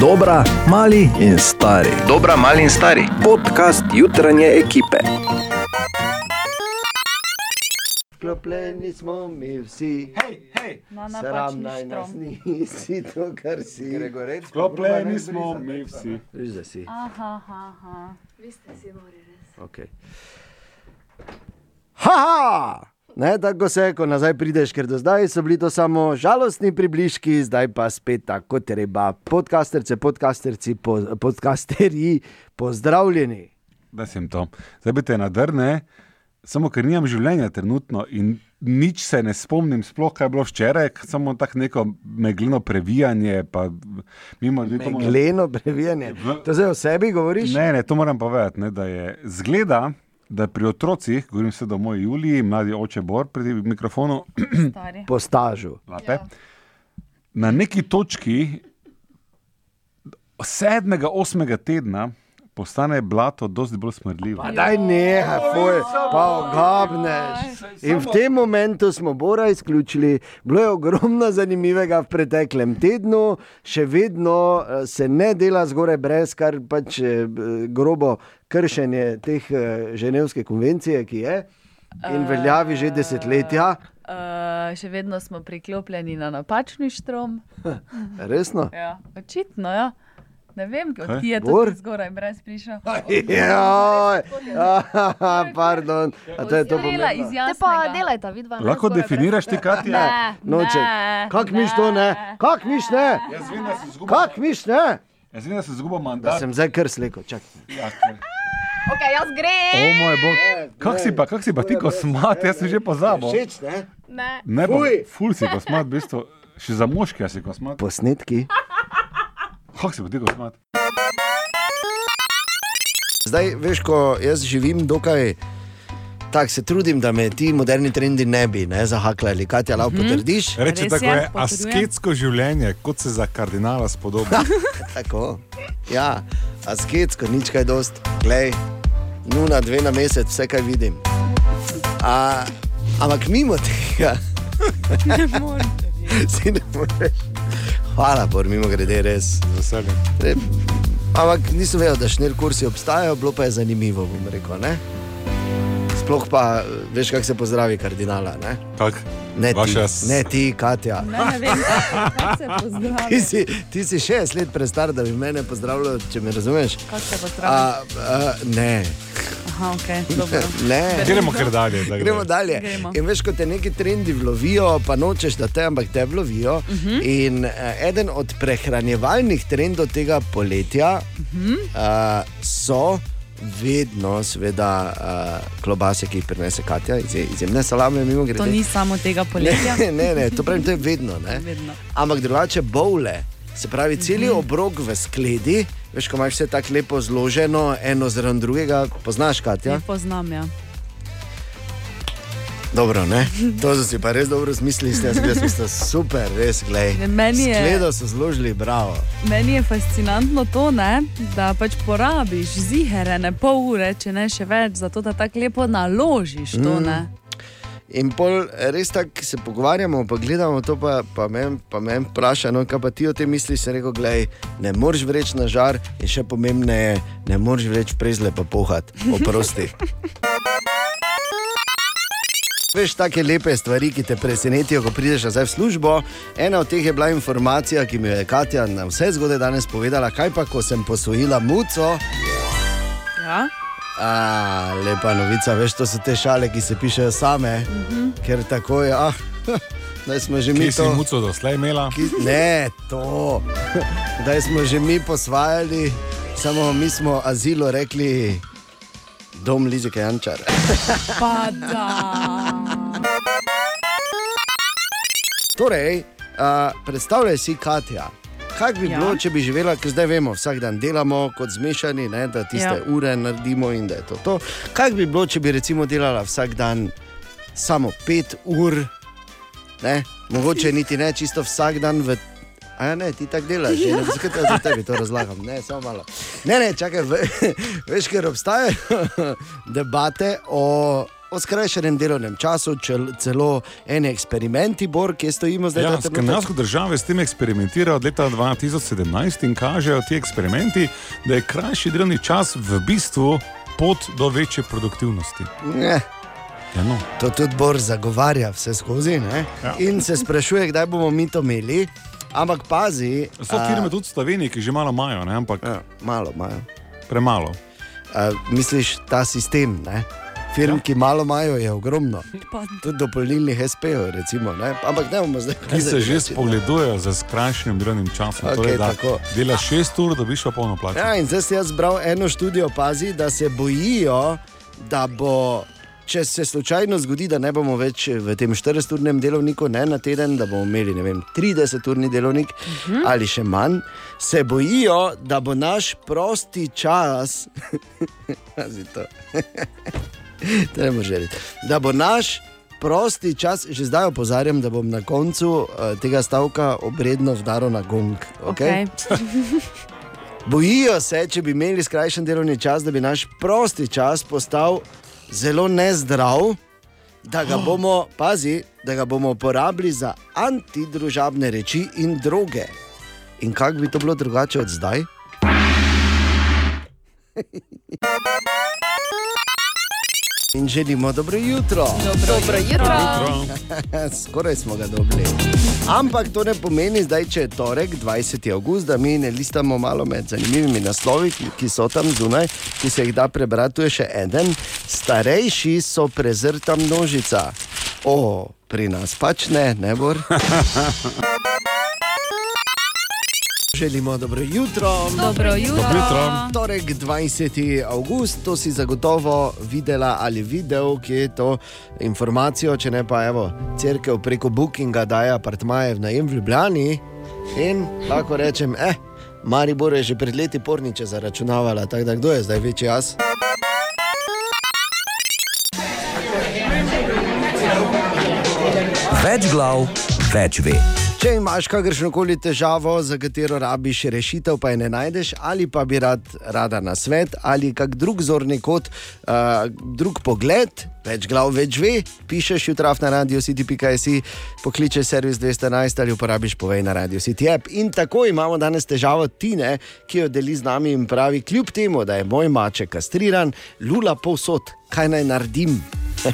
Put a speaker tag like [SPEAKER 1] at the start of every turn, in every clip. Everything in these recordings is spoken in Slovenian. [SPEAKER 1] Dobra, mali in stari.
[SPEAKER 2] Dobra, mali in stari.
[SPEAKER 1] Podcast jutranje ekipe.
[SPEAKER 3] Sklopljeni smo mi vsi,
[SPEAKER 4] Na
[SPEAKER 3] sram
[SPEAKER 4] napačni
[SPEAKER 3] naj nas
[SPEAKER 4] štrom.
[SPEAKER 3] nisi to, kar si.
[SPEAKER 5] Sklopljeni smo mi vsi.
[SPEAKER 3] Veš, da si.
[SPEAKER 4] Aha, aha, aha.
[SPEAKER 3] Okay. Haha! Ne, tako se, ko nazaj prideš, ker do zdaj so bili to samo žalostni približki, zdaj pa spet tako treba. Podcasterce, podcasterci, po, podcasterji, pozdravljeni.
[SPEAKER 5] Da sem to. Zdaj bi te nadrne, samo ker nimam življenja trenutno in nič se ne spomnim, sploh kaj je bilo včeraj, k- samo tako neko meglino previjanje. Pa, mimo, ljudi, to moram-
[SPEAKER 3] Gleno, brevijanje. To zdaj o sebi govoriš?
[SPEAKER 5] Ne, ne, to moram povedati, ne, da je zgleda. Da pri otrocih, govorim se o moji Juliji, mladi oče Bor pri mikrofonu,
[SPEAKER 4] Stari.
[SPEAKER 3] Po stažu.
[SPEAKER 5] Lape. Na neki točki sedmega, osmega tedna postane blato dosti bolj smrdljivo.
[SPEAKER 3] Pa daj nehaj, fuj, pa ogabneš. In v tem momentu smo Bora izključili. Bilo je ogromno zanimivega v preteklem tednu, še vedno eh, se ne dela zgoraj brez, kar pač eh, b- grobo kršenje teh eh, ženevske konvencije, ki je in veljavi že desetletja.
[SPEAKER 4] Uh, še vedno smo priklopljeni na napačni štrom.
[SPEAKER 3] Resno?
[SPEAKER 4] Ja. Očitno, ja. Ne vem,
[SPEAKER 5] Kaj?
[SPEAKER 4] kje je
[SPEAKER 3] Bor?
[SPEAKER 4] to zgoraj brez prišel.
[SPEAKER 3] Ja, pardon, a to je to
[SPEAKER 4] Dela
[SPEAKER 3] pomembno.
[SPEAKER 4] iz
[SPEAKER 6] Te
[SPEAKER 4] jasnega.
[SPEAKER 6] pa delajta, vidva. ne?
[SPEAKER 5] Lahko
[SPEAKER 6] Skoraj
[SPEAKER 5] definiraš ti, kaj ti je?
[SPEAKER 4] Ne,
[SPEAKER 3] Noček.
[SPEAKER 4] ne,
[SPEAKER 3] No, Kak miš to ne? Kak miš ne?
[SPEAKER 5] Jaz vem, da si izgubil-
[SPEAKER 3] Kak miš ne?
[SPEAKER 5] jaz vem, da si izgubil
[SPEAKER 3] Da
[SPEAKER 5] mandat.
[SPEAKER 3] sem zdaj kar slekel, čakaj.
[SPEAKER 5] Ja, ker-
[SPEAKER 6] brez. Ok, jaz grem.
[SPEAKER 5] O moj bog. Kak si pa, kak si pa ti, ko smat, jaz sem že pozabil.
[SPEAKER 3] Všeč, ne?
[SPEAKER 6] Ne.
[SPEAKER 5] Ne, pa,
[SPEAKER 3] Fuj.
[SPEAKER 5] ful si ko smat, v bistvu. Še za moške si ko smat.
[SPEAKER 3] Posnetki.
[SPEAKER 5] Kak si pa ti, ko smat?
[SPEAKER 3] Zdaj, veš, ko jaz živim dokaj. Tako se trudim, da me ti moderni trendi ne bi ne, zahakljali, kaj ti lahko potrdiš.
[SPEAKER 7] Reče
[SPEAKER 4] Res
[SPEAKER 7] tako
[SPEAKER 4] je,
[SPEAKER 7] je,
[SPEAKER 4] potrjujem.
[SPEAKER 7] asketsko življenje, kot se za kardinala spodoba.
[SPEAKER 3] Tako. Ja, asketsko, nič kaj dost, glej, nuna dve na mesec, vse kaj vidim. A, ampak mimo tega. Si ne moreš. Hvala, bor, mimo grede, res.
[SPEAKER 7] Z veseljem.
[SPEAKER 3] Re, ampak nisem vedel, da šnir kursi obstajajo, bilo pa je zanimivo, bom rekel. Ne? Sploh pa veš, kako se pozdravi kardinala. Ne,
[SPEAKER 7] Kak?
[SPEAKER 3] ne ti,
[SPEAKER 7] Vaša
[SPEAKER 3] ne ti, Katja.
[SPEAKER 4] ne, ne vem, kako se pozdravi.
[SPEAKER 3] Ti si, ti si šest let prestar, da bi mene pozdravljal, če me razumeš.
[SPEAKER 4] Kako se pozdravi?
[SPEAKER 3] A, a, ne,
[SPEAKER 4] Aha, ok, dobro.
[SPEAKER 3] ne.
[SPEAKER 7] Gremo kar dalje. tako da.
[SPEAKER 3] Gremo dalje.
[SPEAKER 4] Gremo.
[SPEAKER 3] In veš, ko te neki trendi lovijo, pa nočeš, da te, ampak te lovijo. Uh
[SPEAKER 4] Mhm.
[SPEAKER 3] -huh. In uh, eden od prehranjevalnih trendov tega poletja uh
[SPEAKER 4] Mhm.
[SPEAKER 3] -huh. uh, so vedno, seveda, uh, klobase, ki jih prinese Katja, iz, izjemne salame, mimo grede.
[SPEAKER 4] To ni samo tega poletja.
[SPEAKER 3] Ne, ne, ne, to pravim, to je vedno. ne.
[SPEAKER 4] Vedno. Mhm.
[SPEAKER 3] Ampak drugače bole. Se pravi, cel obrok v skledi, veš, ko imaš vse tako lepo zloženo, eno zraven drugega, poznaš, Katja?
[SPEAKER 4] Ne poznam, ja.
[SPEAKER 3] Dobro, ne? To so si pa res dobro zmislili, ste jaz, super, res, glej.
[SPEAKER 4] Ne, meni je-
[SPEAKER 3] Gledo so zložili, bravo.
[SPEAKER 4] Meni je fascinantno to, ne, da pač porabiš zigerene pol ure, če ne še več, zato da tako lepo naložiš to. Mm.
[SPEAKER 3] In pol res tako se pogovarjamo, pa gledamo to, pa, pa meni pa men vpraša, no, kaj pa ti o tem misliš, se reko, glej, ne moreš vreč na žar in še pomembneje, ne moreš vreč prezle pa pohat, oprosti. Veš, take lepe stvari, ki te presenetijo, ko prideš nazaj v službo. Ena od teh je bila informacija, ki mi jo je Katja na vse zgodaj danes povedala, kaj pa, ko sem posvojila muco.
[SPEAKER 4] Ja?
[SPEAKER 3] A, lepa novica, veš, to so te šale, ki se pišejo same, mm -hmm. ker tako je. Ah, da smo že mi
[SPEAKER 7] Kje si
[SPEAKER 3] to.
[SPEAKER 7] muco doslej imela?
[SPEAKER 3] Ki, ne, to. Da smo že mi posvajali, samo mi smo azilo rekli, dom Lizike Jančar.
[SPEAKER 4] Pa da.
[SPEAKER 3] Torej, a, predstavljaj si Katja. Kaj bi ja.
[SPEAKER 4] Ja.
[SPEAKER 3] bilo, če bi živela, ker zdaj vemo, vsak dan delamo kot zmešani, ne, da tiste ja.
[SPEAKER 4] Ja.
[SPEAKER 3] ure naredimo in da je to to. Kaj bi bilo, če bi recimo delala vsak dan samo pet ur, ne? mogoče niti ne čisto vsak dan v. A ja, ne, ti tako delaš, že ne, zakaj te- za tebi to razlagam, ne, samo malo. Ne, ne, čakaj, ve, veš, ker obstajajo debate o o skrajšanem delovnem času, čel- celo eni eksperimenti, Bor, kje stojimo zdaj.
[SPEAKER 7] Ja,
[SPEAKER 3] ta trenutek?
[SPEAKER 7] skandinavske države s tem eksperimentirajo od leta 2017 in kažejo ti eksperimenti, da je krajši delovni čas v bistvu pot do večje produktivnosti.
[SPEAKER 3] Ne,
[SPEAKER 7] Ja, no.
[SPEAKER 3] To tudi Bor zagovarja vse skozi ne?
[SPEAKER 7] Ja.
[SPEAKER 3] in se sprašuje, kdaj bomo mi to imeli. Ampak pazi,
[SPEAKER 7] So
[SPEAKER 3] a,
[SPEAKER 7] firme tudi v Sloveniji, ki že malo imajo, ne? ampak
[SPEAKER 3] ja, malo imajo.
[SPEAKER 7] premalo.
[SPEAKER 3] A, misliš, ta sistem, ne? Firm, ki malo imajo, je ogromno.
[SPEAKER 4] Pa
[SPEAKER 3] Tudi dopolnilnih SP-ov, recimo. Ne? Ampak ne bomo zdaj
[SPEAKER 7] Ki se že
[SPEAKER 3] začeli.
[SPEAKER 7] spogledujejo za skrajšanim delovnim časom.
[SPEAKER 3] Okej,
[SPEAKER 7] torej, da
[SPEAKER 3] tako.
[SPEAKER 7] delaš 6 ur, dobiš pa polno plačo.
[SPEAKER 3] Ja, in zdaj sem jaz bral eno študijo, pazi, da se bojijo, da bo. Če se slučajno zgodi, da ne bomo več v tem 40-urnem delovniku, ne na teden, da bomo imeli ne vem, 30-urni delovnik uh -huh. ali še manj, se bojijo, da bo naš prosti čas, pazi to, to ne moreš verjeti, da bo naš prosti čas, že zdaj opozarjam, da bom na koncu eh, tega stavka obredno vdaro na gong. Okay?
[SPEAKER 4] Okay.
[SPEAKER 3] Bojijo se, če bi imeli skrajšan delovni čas, da bi naš prosti čas postal zelo nezdrav, da ga bomo, pazi, da ga bomo uporabili za antidružabne reči in droge. In kako bi to bilo drugače od zdaj? In želimo dobro jutro.
[SPEAKER 6] Dobro jutro.
[SPEAKER 3] ja. Skoraj smo ga dobili. Ampak to ne pomeni, zdaj, če je torek, 20. august, da mi ne listamo malo med zanimivimi naslovi, ki- ki so tam zunaj, ki se jih da prebrati. Tu je še en, starejši so prezrta množica. O, pri nas pač ne, ne bor. Želimo dobro jutro.
[SPEAKER 4] Dobro jutro.
[SPEAKER 3] Torek 20. august, to si zagotovo videla ali videl, ki je to informacijo, če ne pa evo, crkva preko Bookinga daje apartmaje v najem v Ljubljani. In tako rečem, eh, Maribor je že pred leti porniče zaračunavala, tako da kdo je zdaj večji jaz?
[SPEAKER 1] Več glav, več ve.
[SPEAKER 3] Če imaš kakršno koli težavo, za katero rabiš rešitev, pa je ne najdeš, ali pa bi rad, rada na svet, ali kak drug zorni kot, uh, drug pogled, več glav, več ve, pišeš jutraf na radio city.js, pokličeš servis 211 ali uporabiš povej na radio city app. In tako imamo danes težavo Tine, ki jo deli z nami in pravi, kljub temu, da je moj maček kastriran, lula povsod, kaj naj naredim.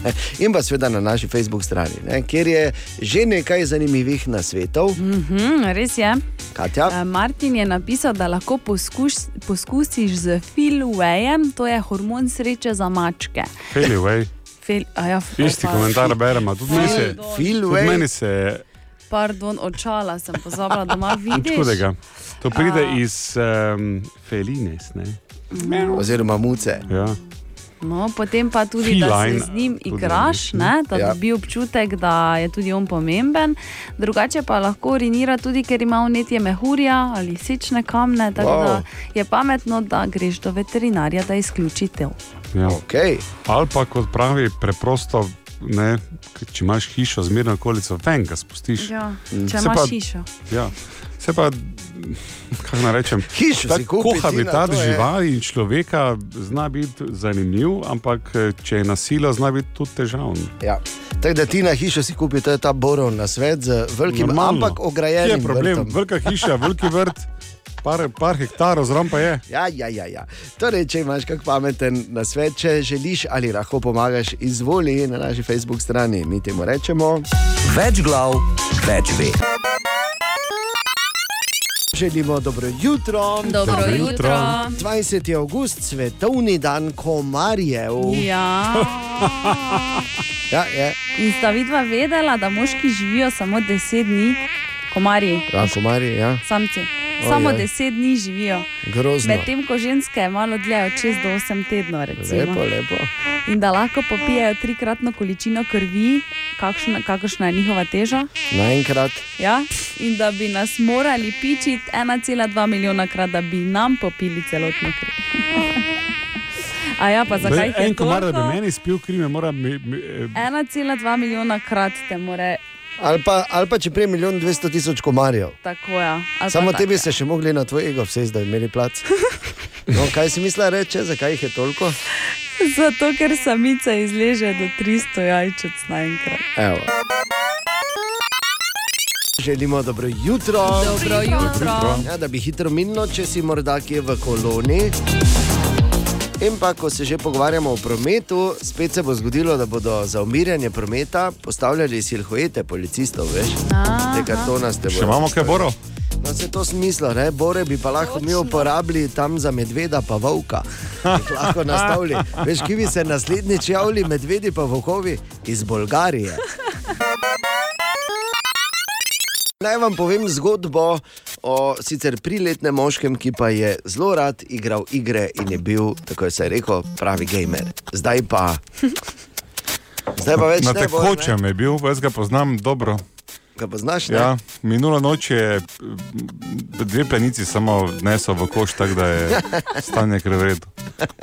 [SPEAKER 3] In pa seveda na naši Facebook strani, ne, kjer je že nekaj zanimivih nasvetov.
[SPEAKER 4] Mhm, res je.
[SPEAKER 3] Katja,
[SPEAKER 4] Eh, Martin je napisal, da lahko poskuš, poskusiš z filwejem, to je hormon sreče za mačke.
[SPEAKER 5] Hej, vej,
[SPEAKER 4] Fel, a ja,
[SPEAKER 5] isti
[SPEAKER 4] opa,
[SPEAKER 5] komentar beremo, tudi meni se,
[SPEAKER 4] Fil-
[SPEAKER 5] tudi meni
[SPEAKER 3] Filway,
[SPEAKER 5] se
[SPEAKER 4] Pardon, očala sem pozabila, da ima
[SPEAKER 5] nič
[SPEAKER 4] vidiš.
[SPEAKER 5] hudega. To pride iz um, Felines. Ne?
[SPEAKER 3] oziroma muce.
[SPEAKER 5] Ja.
[SPEAKER 4] No, potem pa tudi, da se
[SPEAKER 5] Feline.
[SPEAKER 4] z njim
[SPEAKER 5] Tudi
[SPEAKER 4] igraš,
[SPEAKER 5] ne.
[SPEAKER 4] ne, da
[SPEAKER 3] Ja.
[SPEAKER 4] ja. dobi občutek, da je tudi on pomemben. Drugače pa lahko urinira tudi, ker ima vnetje mehurja ali sečne kamne. Tako
[SPEAKER 3] Wow.
[SPEAKER 4] wow. da je pametno, da greš do veterinarja, da izključi te.
[SPEAKER 5] Ja.
[SPEAKER 3] Okay.
[SPEAKER 5] Ali pa kot pravi, preprosto, ne, k- če imaš hišo, zmerno okolico, ven ga spustiš. Ja.
[SPEAKER 4] Ja,
[SPEAKER 5] Se
[SPEAKER 4] če imaš
[SPEAKER 5] pa-
[SPEAKER 4] pa... hišo.
[SPEAKER 5] Ja. Se pa, kako naj rečem,
[SPEAKER 3] Hišo
[SPEAKER 5] ta
[SPEAKER 3] si kupi,
[SPEAKER 5] kohabitat
[SPEAKER 3] Tina, to je-
[SPEAKER 5] živali in človeka zna biti zanimiv, ampak eh, če je nasilje, zna biti tudi težavno.
[SPEAKER 3] Ja. Tako da ti na hišo si kupi, to je ta borov na svet z velikim, Normalno. ampak ograjenim.
[SPEAKER 5] Je problem,
[SPEAKER 3] vrtom.
[SPEAKER 5] velika hiša, veliki vrt, par, par hektarov, zraven pa je.
[SPEAKER 3] Ja, ja, ja, ja. Torej, če imaš kak pameten na svet, če želiš ali lahko pomagaš, izvoli na naši Facebook strani, mi temu rečemo.
[SPEAKER 1] Več glav, več ve.
[SPEAKER 3] Želimo dobro jutro.
[SPEAKER 4] Dobro jutro. jutro.
[SPEAKER 3] 20. august, svetovni dan komarjev.
[SPEAKER 4] Ja.
[SPEAKER 3] Ja, je.
[SPEAKER 4] In sta vidva vedela, da moški živijo samo 10 dni, komarji,
[SPEAKER 3] Ja, komarji, ja.
[SPEAKER 4] samci. Samo
[SPEAKER 3] Ojej.
[SPEAKER 4] 10 dni živijo.
[SPEAKER 3] Grozno.
[SPEAKER 4] Medtem ko ženske je malo dlje, od 6 do 8 tednov. Recimo.
[SPEAKER 3] Lepo, lepo.
[SPEAKER 4] In da lahko popijejo trikratno količino krvi, kakšna, kakšna je njihova teža.
[SPEAKER 3] Naenkrat.
[SPEAKER 4] Ja? In da bi nas morali pičiti 1,2 milijona krat, da bi nam popili celotno kri. A ja, pa zakaj
[SPEAKER 5] Zdaj,
[SPEAKER 4] jih je
[SPEAKER 5] En komar, da bi
[SPEAKER 4] toliko?
[SPEAKER 5] meni spil krime, mora mi, mi, eh,
[SPEAKER 4] 1,2 milijona krat te more
[SPEAKER 3] Ali pa, ali pa če prej milijon dvesto tisoč komarjev.
[SPEAKER 4] tako. Ja. Ali pa
[SPEAKER 3] Samo
[SPEAKER 4] tako,
[SPEAKER 3] tebi
[SPEAKER 4] ja.
[SPEAKER 3] se še mogli na tvoj ego vse zdaj imeli plac. No, kaj si mislila reči, zakaj jih je toliko?
[SPEAKER 4] Zato, ker samica izleže do 300 jajčec naenkrat.
[SPEAKER 3] Evo. Želimo dobro jutro.
[SPEAKER 4] Dobro jutro.
[SPEAKER 3] Ja, da bi hitro minilo, če si morda kje v koloni. In pa, ko se že pogovarjamo o prometu, spet se bo zgodilo, da bodo za umirjanje prometa postavljali silhuete policistov, veš, te
[SPEAKER 4] Eh.
[SPEAKER 3] kartonaste.
[SPEAKER 7] Še imamo kaj boro?
[SPEAKER 3] No, se to smisla, ne? Bore bi pa lahko mi uporabili tam za medveda, pa volka. Jih lahko nastavili. Veš, ki bi se naslednjič javili, medvedi pa volkovi iz Bolgarije. Naj vam povem zgodbo o sicer priletnem moškem, ki pa je zelo rad igral igre in je bil, tako se je rekel, pravi gamer. Zdaj pa. Zdaj pa več ne bo.
[SPEAKER 7] Na
[SPEAKER 3] ne?
[SPEAKER 7] tekočem je bil, jaz ga poznam dobro.
[SPEAKER 3] Ga poznaš? ne?
[SPEAKER 7] Ja, minulo noč
[SPEAKER 5] eh,
[SPEAKER 7] je m, dve plenici samo nesel v koš, tako da je stanje krvredo.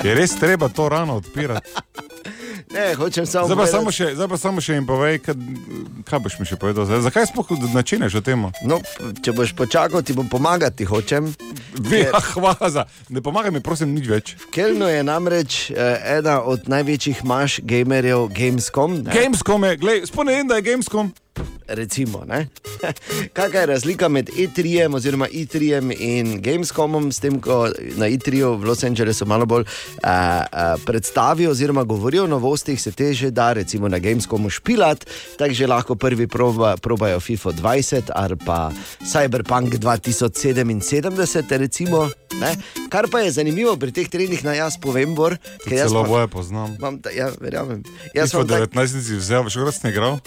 [SPEAKER 7] Je res treba to rano odpirati.
[SPEAKER 3] Ne, hočem samo.
[SPEAKER 7] Zdaj pa
[SPEAKER 3] povedati-
[SPEAKER 7] samo še, zdaj pa samo še jim povej, kaj, kaj boš mi še povedal. Zdaj, zakaj sploh načineš o tem?
[SPEAKER 3] No, če boš počakal, ti bom pomagati, hočem.
[SPEAKER 7] Ja, hvala za. Ne pomagaj mi, prosim, nič več.
[SPEAKER 3] Kelno je namreč eh, ena od največjih maš gamerjev, Gamescom. Ne?
[SPEAKER 7] Gamescom je, glej, sploh ne vem, da je Gamescom.
[SPEAKER 3] Recimo, ne? Kakšna je razlika med E3-jem oziroma E3-jem in Gamescomom, s tem, ko na E3-ju v Los Angelesu malo bolj eh, eh, predstavijo oziroma govorijo o novostih, se te že da recimo na Gamescomu špilat, tako že lahko prvi proba, probajo FIFA 20 ali pa Cyberpunk 2077, recimo. Ne? Kar pa je zanimivo pri teh trenih, naj jaz povem, Bor, ker jaz
[SPEAKER 7] Celo
[SPEAKER 3] pa,
[SPEAKER 7] boje poznam.
[SPEAKER 3] imam, ta, ja, verjamem,
[SPEAKER 7] Ja,
[SPEAKER 3] jaz
[SPEAKER 7] Jaz sem
[SPEAKER 3] imam tak,
[SPEAKER 7] 19 let vzel, še res ne igral.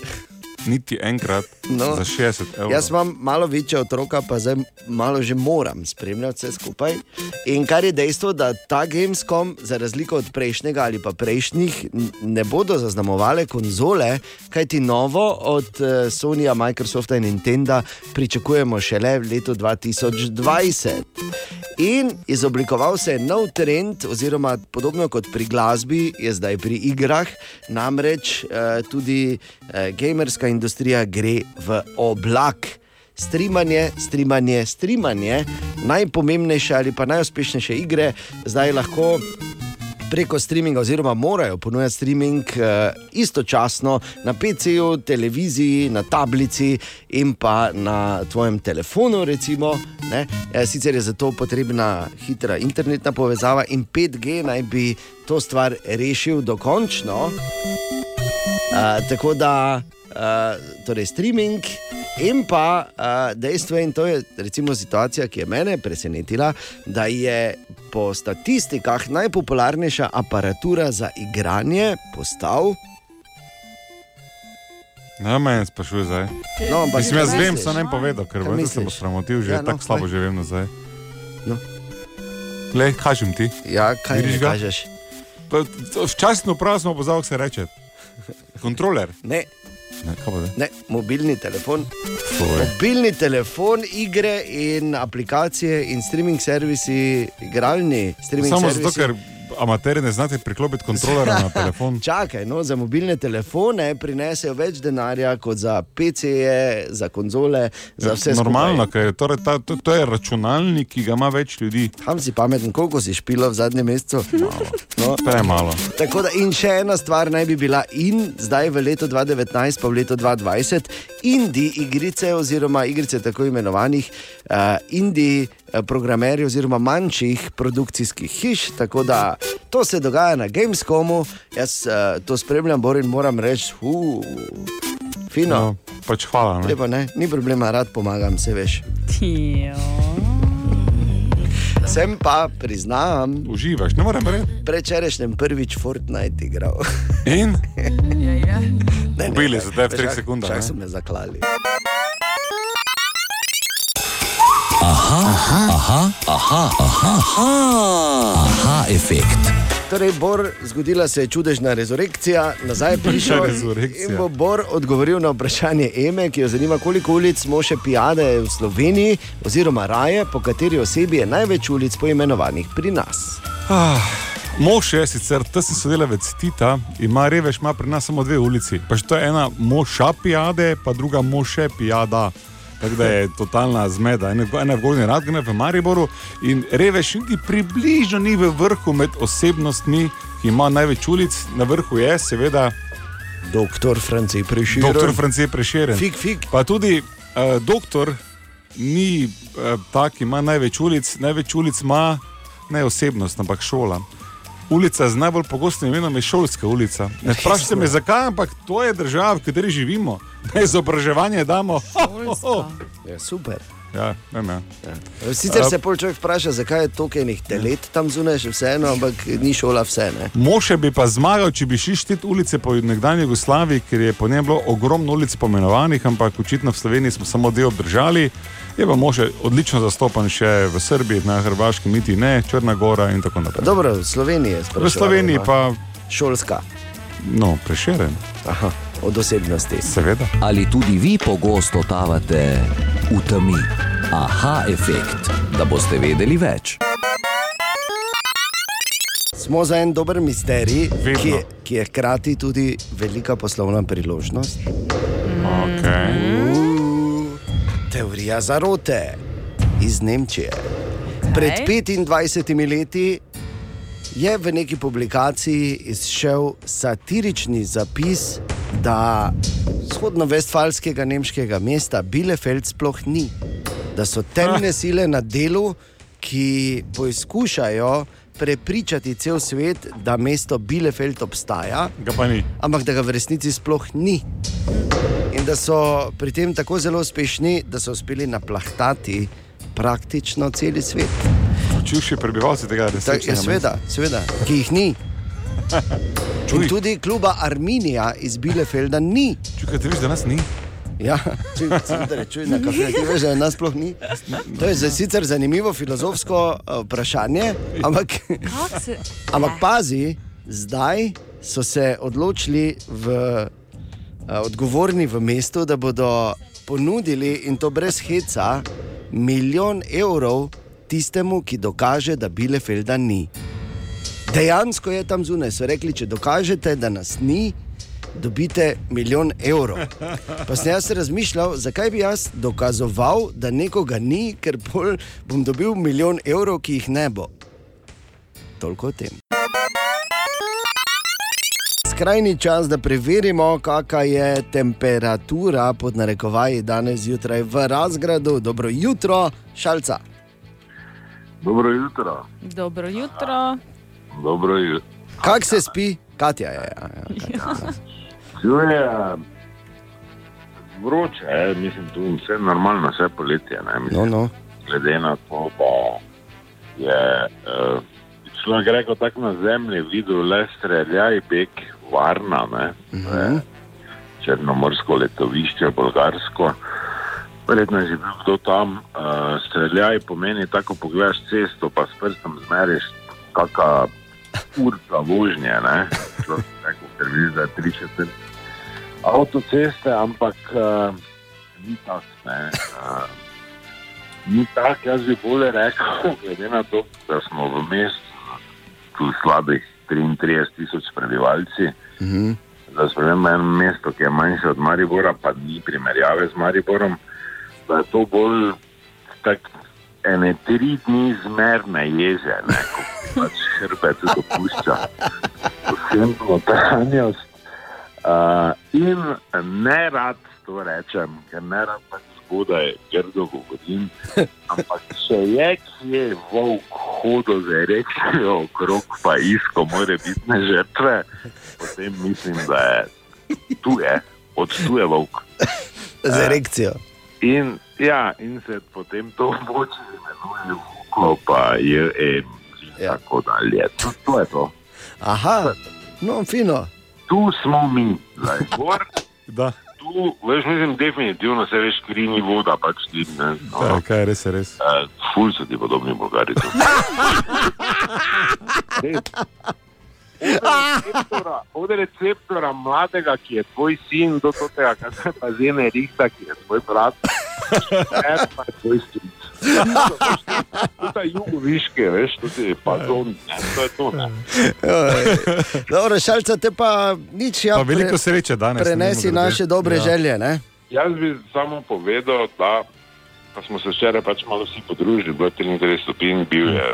[SPEAKER 7] Niti enkrat,
[SPEAKER 3] No.
[SPEAKER 7] no, za 60 evrov.
[SPEAKER 3] Jaz imam malo večje otroka, pa zdaj malo že moram spremljati vse skupaj. In kar je dejstvo, da ta Gamescom, za razliko od prejšnjega ali pa prejšnjih, n- ne bodo zaznamovale konzole, kajti novo od eh, Sonyja, Microsofta in Nintenda pričakujemo šele v letu 2020. In izoblikoval se je nov trend, oziroma podobno kot pri glasbi, je zdaj pri igrah, namreč eh, tudi eh, gamerska industrija gre v oblak. Streamanje, streamanje, streamanje, najpomembnejše ali pa najuspešnejše igre, zdaj lahko preko streaminga, oziroma morajo ponujati streaming eh, istočasno na PC-ju, televiziji, na tablici in pa na tvojem telefonu. Recimo, ne. Eh, Sicer je za to potrebna hitra internetna povezava in 5G naj bi to stvar rešil dokončno. Uh, tako da, uh, torej streaming. In pa uh, dejstvo, je, in to je recimo situacija, ki je mene presenetila, da je po statistikah najpopularnejša aparatura za igranje postal.
[SPEAKER 7] Ne, me ne sprašuj zdaj.
[SPEAKER 3] No, ampak
[SPEAKER 7] Mislim, jaz
[SPEAKER 3] kaj
[SPEAKER 7] vem,
[SPEAKER 3] misliš?
[SPEAKER 7] sem ne povedal, ker
[SPEAKER 3] Kaj
[SPEAKER 7] vem, da se bo
[SPEAKER 3] misliš?
[SPEAKER 7] sramotil, že
[SPEAKER 3] Ja,
[SPEAKER 7] ja,
[SPEAKER 3] no,
[SPEAKER 7] no, tako slabo
[SPEAKER 3] povej.
[SPEAKER 7] že vem nazaj.
[SPEAKER 3] No.
[SPEAKER 7] Le, kažem ti.
[SPEAKER 3] Ja, kaj
[SPEAKER 7] Vidiš
[SPEAKER 3] mi
[SPEAKER 7] ga?
[SPEAKER 3] kažeš?
[SPEAKER 7] Pa, to- Včasih prav smo pozvali, se reče. Kontroler.
[SPEAKER 3] Ne,
[SPEAKER 7] Ne, kaj pa da?
[SPEAKER 3] ne, mobilni telefon.
[SPEAKER 7] Povej.
[SPEAKER 3] Mobilni telefon, igre in aplikacije in streaming servisi, igralni streaming
[SPEAKER 7] Samo
[SPEAKER 3] servisi.
[SPEAKER 7] zato, ker amateri ne znate priklopiti kontrolera na telefon.
[SPEAKER 3] Čakaj, no, za mobilne telefone prinesejo več denarja kot za PC-je, za konzole, za vse skupaj.
[SPEAKER 7] Ja, Normalno, ker je torej ta, to, to je računalnik, ki ga ima več ljudi.
[SPEAKER 3] Kam si pameten, koliko si špilo v zadnjem mesecu? No,
[SPEAKER 7] Premalo.
[SPEAKER 3] tako da, in še ena stvar naj bi bila, in zdaj v letu 2019, pa v letu 2020, indie igrice, oziroma igrice tako imenovanih uh, indie eh, programerjev, oziroma manjših produkcijskih hiš. Tako da to se dogaja na Gamescomu, jaz uh, to spremljam, Borin, moram reči, uh, fino.
[SPEAKER 7] No, pač hvala. Ne?
[SPEAKER 3] Lepo, ne? Ni problema, rad pomagam, se veš.
[SPEAKER 4] Tijo.
[SPEAKER 3] Sem pa, priznam,
[SPEAKER 7] Uživaš, ne morem reči.
[SPEAKER 3] prečerajšnjem prvič Fortnite igral.
[SPEAKER 7] In
[SPEAKER 3] Ne, ne,
[SPEAKER 7] Ubili
[SPEAKER 3] ne,
[SPEAKER 7] so te v
[SPEAKER 3] veš,
[SPEAKER 7] treh
[SPEAKER 3] kak-
[SPEAKER 7] sekundah,
[SPEAKER 3] Kak
[SPEAKER 7] ne?
[SPEAKER 3] so me zaklali.
[SPEAKER 1] Aha, efekt.
[SPEAKER 3] Torej, Bor, zgodila se je čudežna rezurekcija, nazaj je prišel
[SPEAKER 7] Rezurekcija.
[SPEAKER 3] in bo Bor odgovoril na vprašanje Eme, ki jo zanima, koliko ulic smo še pijade v Sloveniji, oziroma raje, po kateri osebi je največ ulic poimenovanih pri nas.
[SPEAKER 7] Ah, mož je sicer tesen sodelavec Tita, ima revež, ima pri nas samo dve ulici. Pa še to je ena moša pijade, pa druga moše pijada. Tako da je totalna zmeda. Ena ena je v Gornji Radgene, v Mariboru in revež niti približno ni v vrhu med osebnostmi, ki ima največ ulic, na vrhu je seveda
[SPEAKER 3] Doktor Franci prišel.
[SPEAKER 7] dr. France Prešeren.
[SPEAKER 3] Fik, fik.
[SPEAKER 7] Pa tudi uh, doktor ni uh, ta, ki ima največ ulic, največ ulic ima ne osebnost, ampak šola. Ulica z najbolj pogostim imenom je šolska ulica. Ne vprašajte me, zakaj, ampak to je država, v kateri živimo. Na izobraževanje damo.
[SPEAKER 4] Šolska.
[SPEAKER 3] Ja, super.
[SPEAKER 7] Ja, vem, ja.
[SPEAKER 3] Ja. Sicer se pol človek vpraša, zakaj je toliko enih telet tam zunaj, še vseeno, ampak ni šola vse. Ne?
[SPEAKER 7] Moše bi pa zmagal, če bi šli štit ulice po nekdanji Jugoslaviji, ker je po njem bilo ogromno ulic pomenovanih, ampak očitno v Sloveniji smo samo del obdržali. Je pa moše odlično zastopan še v Srbiji, na Hrvaškem, niti ne, Črna Gora in tako naprej.
[SPEAKER 3] Dobro, v Sloveniji je sprašljivo.
[SPEAKER 7] V Sloveniji pa,
[SPEAKER 3] Šolska,
[SPEAKER 7] no, prešeren,
[SPEAKER 3] Aha, od osebnosti.
[SPEAKER 7] seveda.
[SPEAKER 1] Ali tudi vi pogosto totavate v temi? Aha, efekt, da boste vedeli več.
[SPEAKER 3] Smo za en dober misterij,
[SPEAKER 7] Vedno.
[SPEAKER 3] ki je, ki je hkrati tudi velika poslovna priložnost.
[SPEAKER 7] Okay.
[SPEAKER 3] Teorija zarote iz Nemčije. Pred 25 leti je v neki publikaciji izšel satirični zapis, da vzhodno-vestfalskega nemškega mesta Bielefeld sploh ni, da so temne sile na delu, ki poizkušajo prepričati cel svet, da mesto Bielefeld obstaja
[SPEAKER 7] Ga pa ni.
[SPEAKER 3] ampak da ga v resnici sploh ni. In da so pri tem tako zelo uspešni, da so uspeli naplahtati praktično cel svet.
[SPEAKER 7] Čivši prebivalci tega
[SPEAKER 3] Tak, ja,
[SPEAKER 7] resničnega mesta.
[SPEAKER 3] sveda, sveda, ki jih ni. In tudi kluba Arminija iz Bielefelda ni.
[SPEAKER 7] Čukaj, ti veš, da nas ni.
[SPEAKER 3] Ja, čuj, Cimdre, čuj, na kafe, ti veš, da nas sploh ni. To je za, sicer zanimivo filozofsko eh, vprašanje, ampak
[SPEAKER 4] Kako se-
[SPEAKER 3] Ampak pazi, zdaj so se odločili v, eh, odgovorni v mestu, da bodo ponudili in to brez heca milijon evrov tistemu, ki dokaže, da Bielefelda ni. Dejansko je tam zunaj. So rekli, če dokažete, da nas ni, dobite milijon evrov. Pa sem jaz razmišljal, zakaj bi jaz dokazoval, da nekoga ni, ker bolj bom dobil milijon evrov, ki jih ne bo. Toliko o tem. Skrajni čas, da preverimo, kakšna je temperatura pod narekovaji danes zjutraj v Razgradu. Dobro jutro, šalca.
[SPEAKER 8] Dobro jutro.
[SPEAKER 4] Dobro jutro.
[SPEAKER 8] Dobro jutro.
[SPEAKER 3] Kak se spi? Katja je. Ja, ja.
[SPEAKER 8] Čuje, eh, vroče, je, mislim, tu vse normalno, vse poletje. Ne, mislim,
[SPEAKER 3] No, no.
[SPEAKER 8] Glede na to, da je uh, človek rekel tako na zemlji, videl le streljaj, beg, varna, ne, uh -huh. črnomorsko letovišče, bolgarsko. Verjetno je že bil kdo tam, uh, streljaj pomeni tako, pogledaš cesto, pa s prstom zmeriš, kakšna urca vožnje, ne, človek rekel, ker vidiš, da je tri četrt avtoceste, ampak uh, ni tak. Ne, uh, Ni tak, jaz bi bolje rekel, glede na to, da smo v mestu, tu slabih 33 tisoč prebivalci. Mm -hmm. Za spremembo eno mesto, ki je manjše od Maribora, pa ni primerjave z Mariborom, da je to bolj tako ene tri dni zmerne jeze, ne, ko ti pač hrbet dopušča. Vsem notranjost. Uh, in ne rad to rečem, ker ne rad pač zgodaj grdo govorim. Ampak če je kje volk hodil z erekcijo okrog, pa isko more biti ne žrtve, potem mislim, da je tu je, od tu je volk.
[SPEAKER 3] Z erekcijo.
[SPEAKER 8] In, ja, in se potem to moče imenuje volko, pa je em.
[SPEAKER 3] Ja.
[SPEAKER 8] Ja. Tako dalje. To, to je to.
[SPEAKER 3] Aha, no, fino.
[SPEAKER 8] Tu smo mi, zdaj gor.
[SPEAKER 7] Da,
[SPEAKER 8] Tu, veš, mislim, definitivno se veš, kri ni voda, pač ti ne.
[SPEAKER 7] da
[SPEAKER 8] No,
[SPEAKER 7] kaj, res je res.
[SPEAKER 8] eh, ful so ti podobni Bolgari. tu. Res. Od receptora- Od receptora mladega, ki je tvoj sin, do to tega, kar se pa zene rihta, ki je tvoj brat, ter pa je tvoj stric. Tukaj jugoviške, veš, to ti je pa to, ne, to je to. Ne.
[SPEAKER 3] Oj. Dobro, šalca te pa nič, ja,
[SPEAKER 7] Pa veliko sreče danes.
[SPEAKER 3] prenesi
[SPEAKER 7] mimogrede.
[SPEAKER 3] naše dobre ja. želje. Ne?
[SPEAKER 8] Jaz bi samo povedal, da pa smo se včeraj pač malo vsi podružili, bilo je 33 stopinj, bil je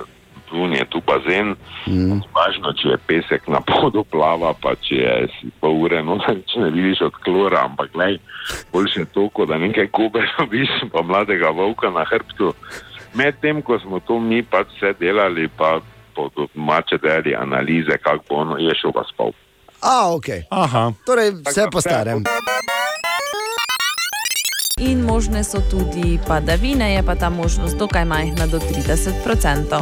[SPEAKER 8] tun je tu bazen, mm. važno, če je pesek na podu plava, pa če je si pol ure noter, če ne vidiš od klora, ampak lej, boljše to, kot da nekaj kobe dobiš, pa mladega volka na hrbtu. Medtem, ko smo to mi pač vse delali, pa po domače deli analize, kako bo ono, je šel pa spal.
[SPEAKER 3] A, ok.
[SPEAKER 7] Aha,
[SPEAKER 3] Torej, vse po starem.
[SPEAKER 4] In možne so tudi padavine, je pa ta možnost dokaj majhna do 30%.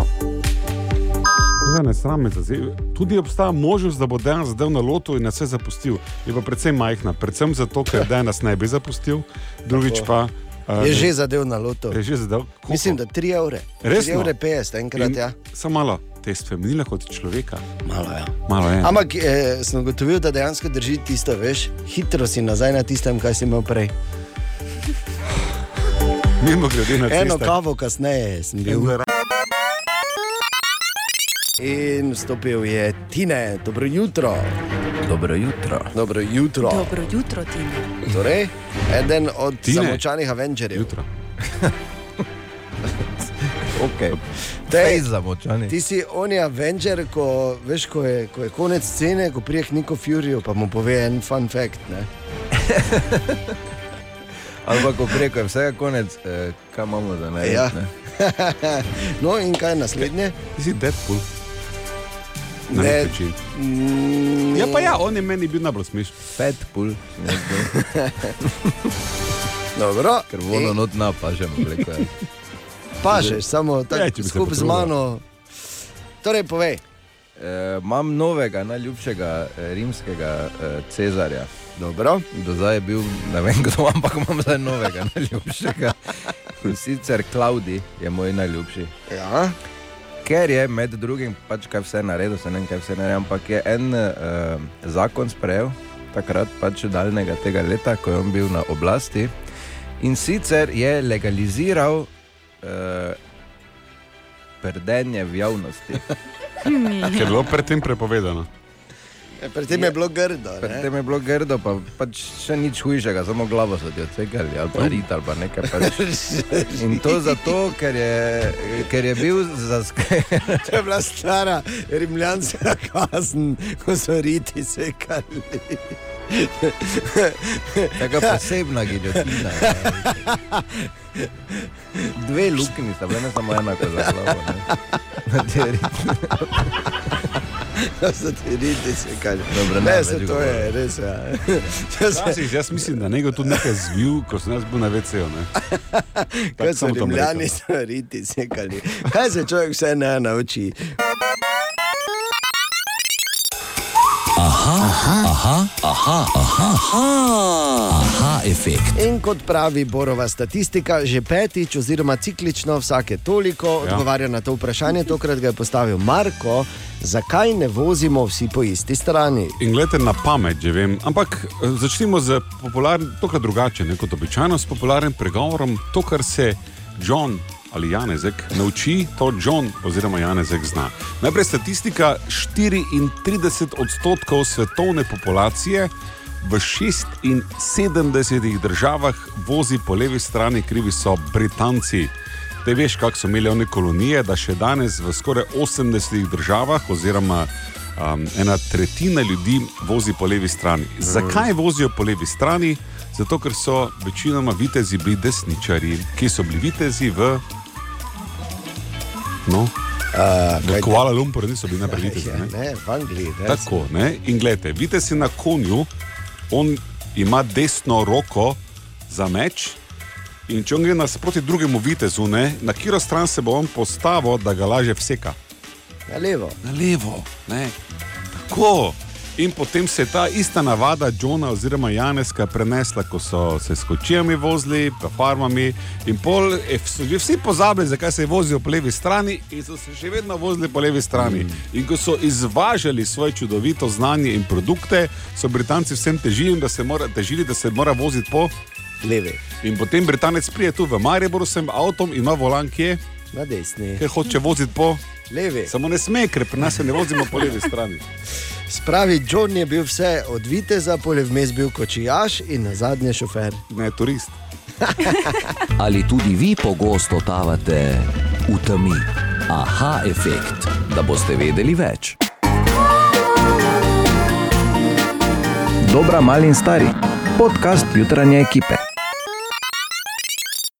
[SPEAKER 7] Zdaj ne sramite se. Tudi obstaja možnost, da bo danes zadev na lotu in nas je zapustil. Je pa predvsem majhna, predvsem zato, ker danes ne bi zapustil, drugič pa eh,
[SPEAKER 3] Je že zadev na loto.
[SPEAKER 7] je že zadev. Koliko?
[SPEAKER 3] Mislim, da 3 evre. 3
[SPEAKER 7] Resno?
[SPEAKER 3] evre 50, enkrat
[SPEAKER 7] In
[SPEAKER 3] ja.
[SPEAKER 7] Samo malo, te spremenile kot človeka.
[SPEAKER 3] Malo ja.
[SPEAKER 7] Malo je.
[SPEAKER 3] Ampak eh, sem ugotovil, da dejansko drži tisto, veš, hitro si nazaj na tistem, kar si imel prej.
[SPEAKER 7] Mimo grede na
[SPEAKER 3] Eno
[SPEAKER 7] cestah.
[SPEAKER 3] kavo kasneje sem bil. In vstopil je Tine, dobro jutro.
[SPEAKER 1] Dobro jutro.
[SPEAKER 3] Dobro jutro.
[SPEAKER 4] Dobro jutro, Tina.
[SPEAKER 3] Torej, eden od
[SPEAKER 7] Tine.
[SPEAKER 3] samočanih Avengerjev.
[SPEAKER 7] Jutro.
[SPEAKER 9] Okay.
[SPEAKER 3] Tej,
[SPEAKER 9] Ej, zamočani.
[SPEAKER 3] ti si oni Avenger, ko, veš, ko, je, ko je konec scene, ko prije k Niku Furyju, pa mu pove en fun fact. Ne?
[SPEAKER 9] Ampak, ko preko je vsega konec, eh, kaj imamo za naj?
[SPEAKER 3] Ja. No in kaj je naslednje?
[SPEAKER 7] Ti si Deadpool. Na
[SPEAKER 3] Ne.
[SPEAKER 7] nek način.
[SPEAKER 3] Mm,
[SPEAKER 7] Ja, pa ja, on je meni bil najbolj smešen.
[SPEAKER 9] Pet pul,
[SPEAKER 3] Dobro,
[SPEAKER 9] ker vodo not napažemo. preko, ja.
[SPEAKER 3] pažeš, samo
[SPEAKER 7] Ja,
[SPEAKER 3] tako
[SPEAKER 7] če bi se
[SPEAKER 3] skupaj z
[SPEAKER 7] potrudila.
[SPEAKER 3] mano. Torej, povej,
[SPEAKER 9] Eh, Imam novega, najljubšega eh, rimskega eh, cezarja.
[SPEAKER 3] dobro.
[SPEAKER 9] Do zdaj je bil, ne vem kdo, ampak imam zdaj novega, najljubšega. In sicer Klaudi je moj najljubši.
[SPEAKER 3] Ja.
[SPEAKER 9] Ker je med drugim, pač kaj vse naredil, se ne vem, kaj vse naredil, ampak je en uh, zakon sprejel, takrat pač daljnega tega leta, ko je on bil na oblasti. In sicer je legaliziral uh, prdenje v javnosti.
[SPEAKER 4] Hm,
[SPEAKER 7] Ker je bilo predtem prepovedano.
[SPEAKER 3] Ja, Pri tem je bilo grdo.
[SPEAKER 9] Pred
[SPEAKER 3] ne?
[SPEAKER 9] tem je bilo grdo, pa pač še nič hujšega, samo glavo so ti odsekali, ali pa rit, ali pa nekaj. Pač. In to zato, ker je, ker je bil zaskrbljen.
[SPEAKER 3] To je bila stara rimljanska kazen, ko so riti sekali.
[SPEAKER 9] Taka posebna giljotina. Dve luknji sta bile, ne samo ena, kot za glavo. ne. Na teoriji.
[SPEAKER 3] Da so ti riti sekali.
[SPEAKER 9] Dobro, ne,
[SPEAKER 3] ne,
[SPEAKER 9] več
[SPEAKER 3] se to
[SPEAKER 9] govora.
[SPEAKER 3] je res. Ja. To se-
[SPEAKER 7] Včasih jaz mislim, da nekdo tudi nekaj zvil, ko sem jaz bil na VC-ju. ne. Tako
[SPEAKER 3] Kaj so
[SPEAKER 7] samo to bom
[SPEAKER 3] rimljani
[SPEAKER 7] rekel.
[SPEAKER 3] stvariti, sekali. Kaj se človek vse ne nauči?
[SPEAKER 1] Aha, efekt.
[SPEAKER 3] In kot pravi Borova statistika, že petič, oziroma ciklično vsake toliko ja.
[SPEAKER 7] Ja.
[SPEAKER 3] odgovarja na to vprašanje. Tokrat ga je postavil Marko, zakaj ne vozimo vsi po isti strani.
[SPEAKER 7] In gledajte na pamet, že vem. Ampak eh, začnimo z popularnim, tokrat drugače ne, kot običajno, s popularnim pregovorom, to, kar se John ali Janezek nauči, to John oziroma Janezek zna. Najprej statistika: 34 odstotkov svetovne populacije v 76 državah vozi po levi strani, krivi so Britanci. Te veš, kako so imeli one kolonije, da še danes v skoraj 80 državah, oziroma um, ena tretjina ljudi vozi po levi strani. Zakaj vozijo po levi strani? Zato, ker so večinoma vitezi bili desničari, ki so bili vitezi v. No, v Kuala Lumpur niso bili najprej vitezi. Ne?
[SPEAKER 3] Ne, v Angliji. Ne.
[SPEAKER 7] Tako, ne? in gledajte, vidite si na konju, on ima desno roko za meč. In če on gre nasproti drugemu vitezu, ne, na katero stran se bo on postavil, da ga laže vseka?
[SPEAKER 3] Na levo.
[SPEAKER 7] Na levo, ne. Tako. In potem se je ta ista navada Johna oziroma Janeska prenesla, ko so se s kočijami vozili, pa farmami. In pol eh, so že vsi pozabili, zakaj se vozijo po levi strani, in so se še vedno vozili po levi strani. In ko so izvažali svoje čudovito znanje in produkte, so Britanci vsem težili, da se mora, težili, da se mora voziti po.
[SPEAKER 3] Levi,
[SPEAKER 7] In potem Britanec prije tu v Mariboru s tem avtom, ima volan, ki je,
[SPEAKER 3] na desni,
[SPEAKER 7] ker hoče voziti po.
[SPEAKER 3] levi.
[SPEAKER 7] Samo ne sme, ker pri nas se ne vozimo po levi strani.
[SPEAKER 3] Spravi, John je bil vse od viteza, poleg vmes bil kočijaš in na zadnje šofer.
[SPEAKER 7] Ne, turist.
[SPEAKER 1] Ali tudi vi pogosto totavate v temi? Aha, efekt, da boste vedeli več.
[SPEAKER 9] Dobra, mali in stari. Podcast jutranje ekipe.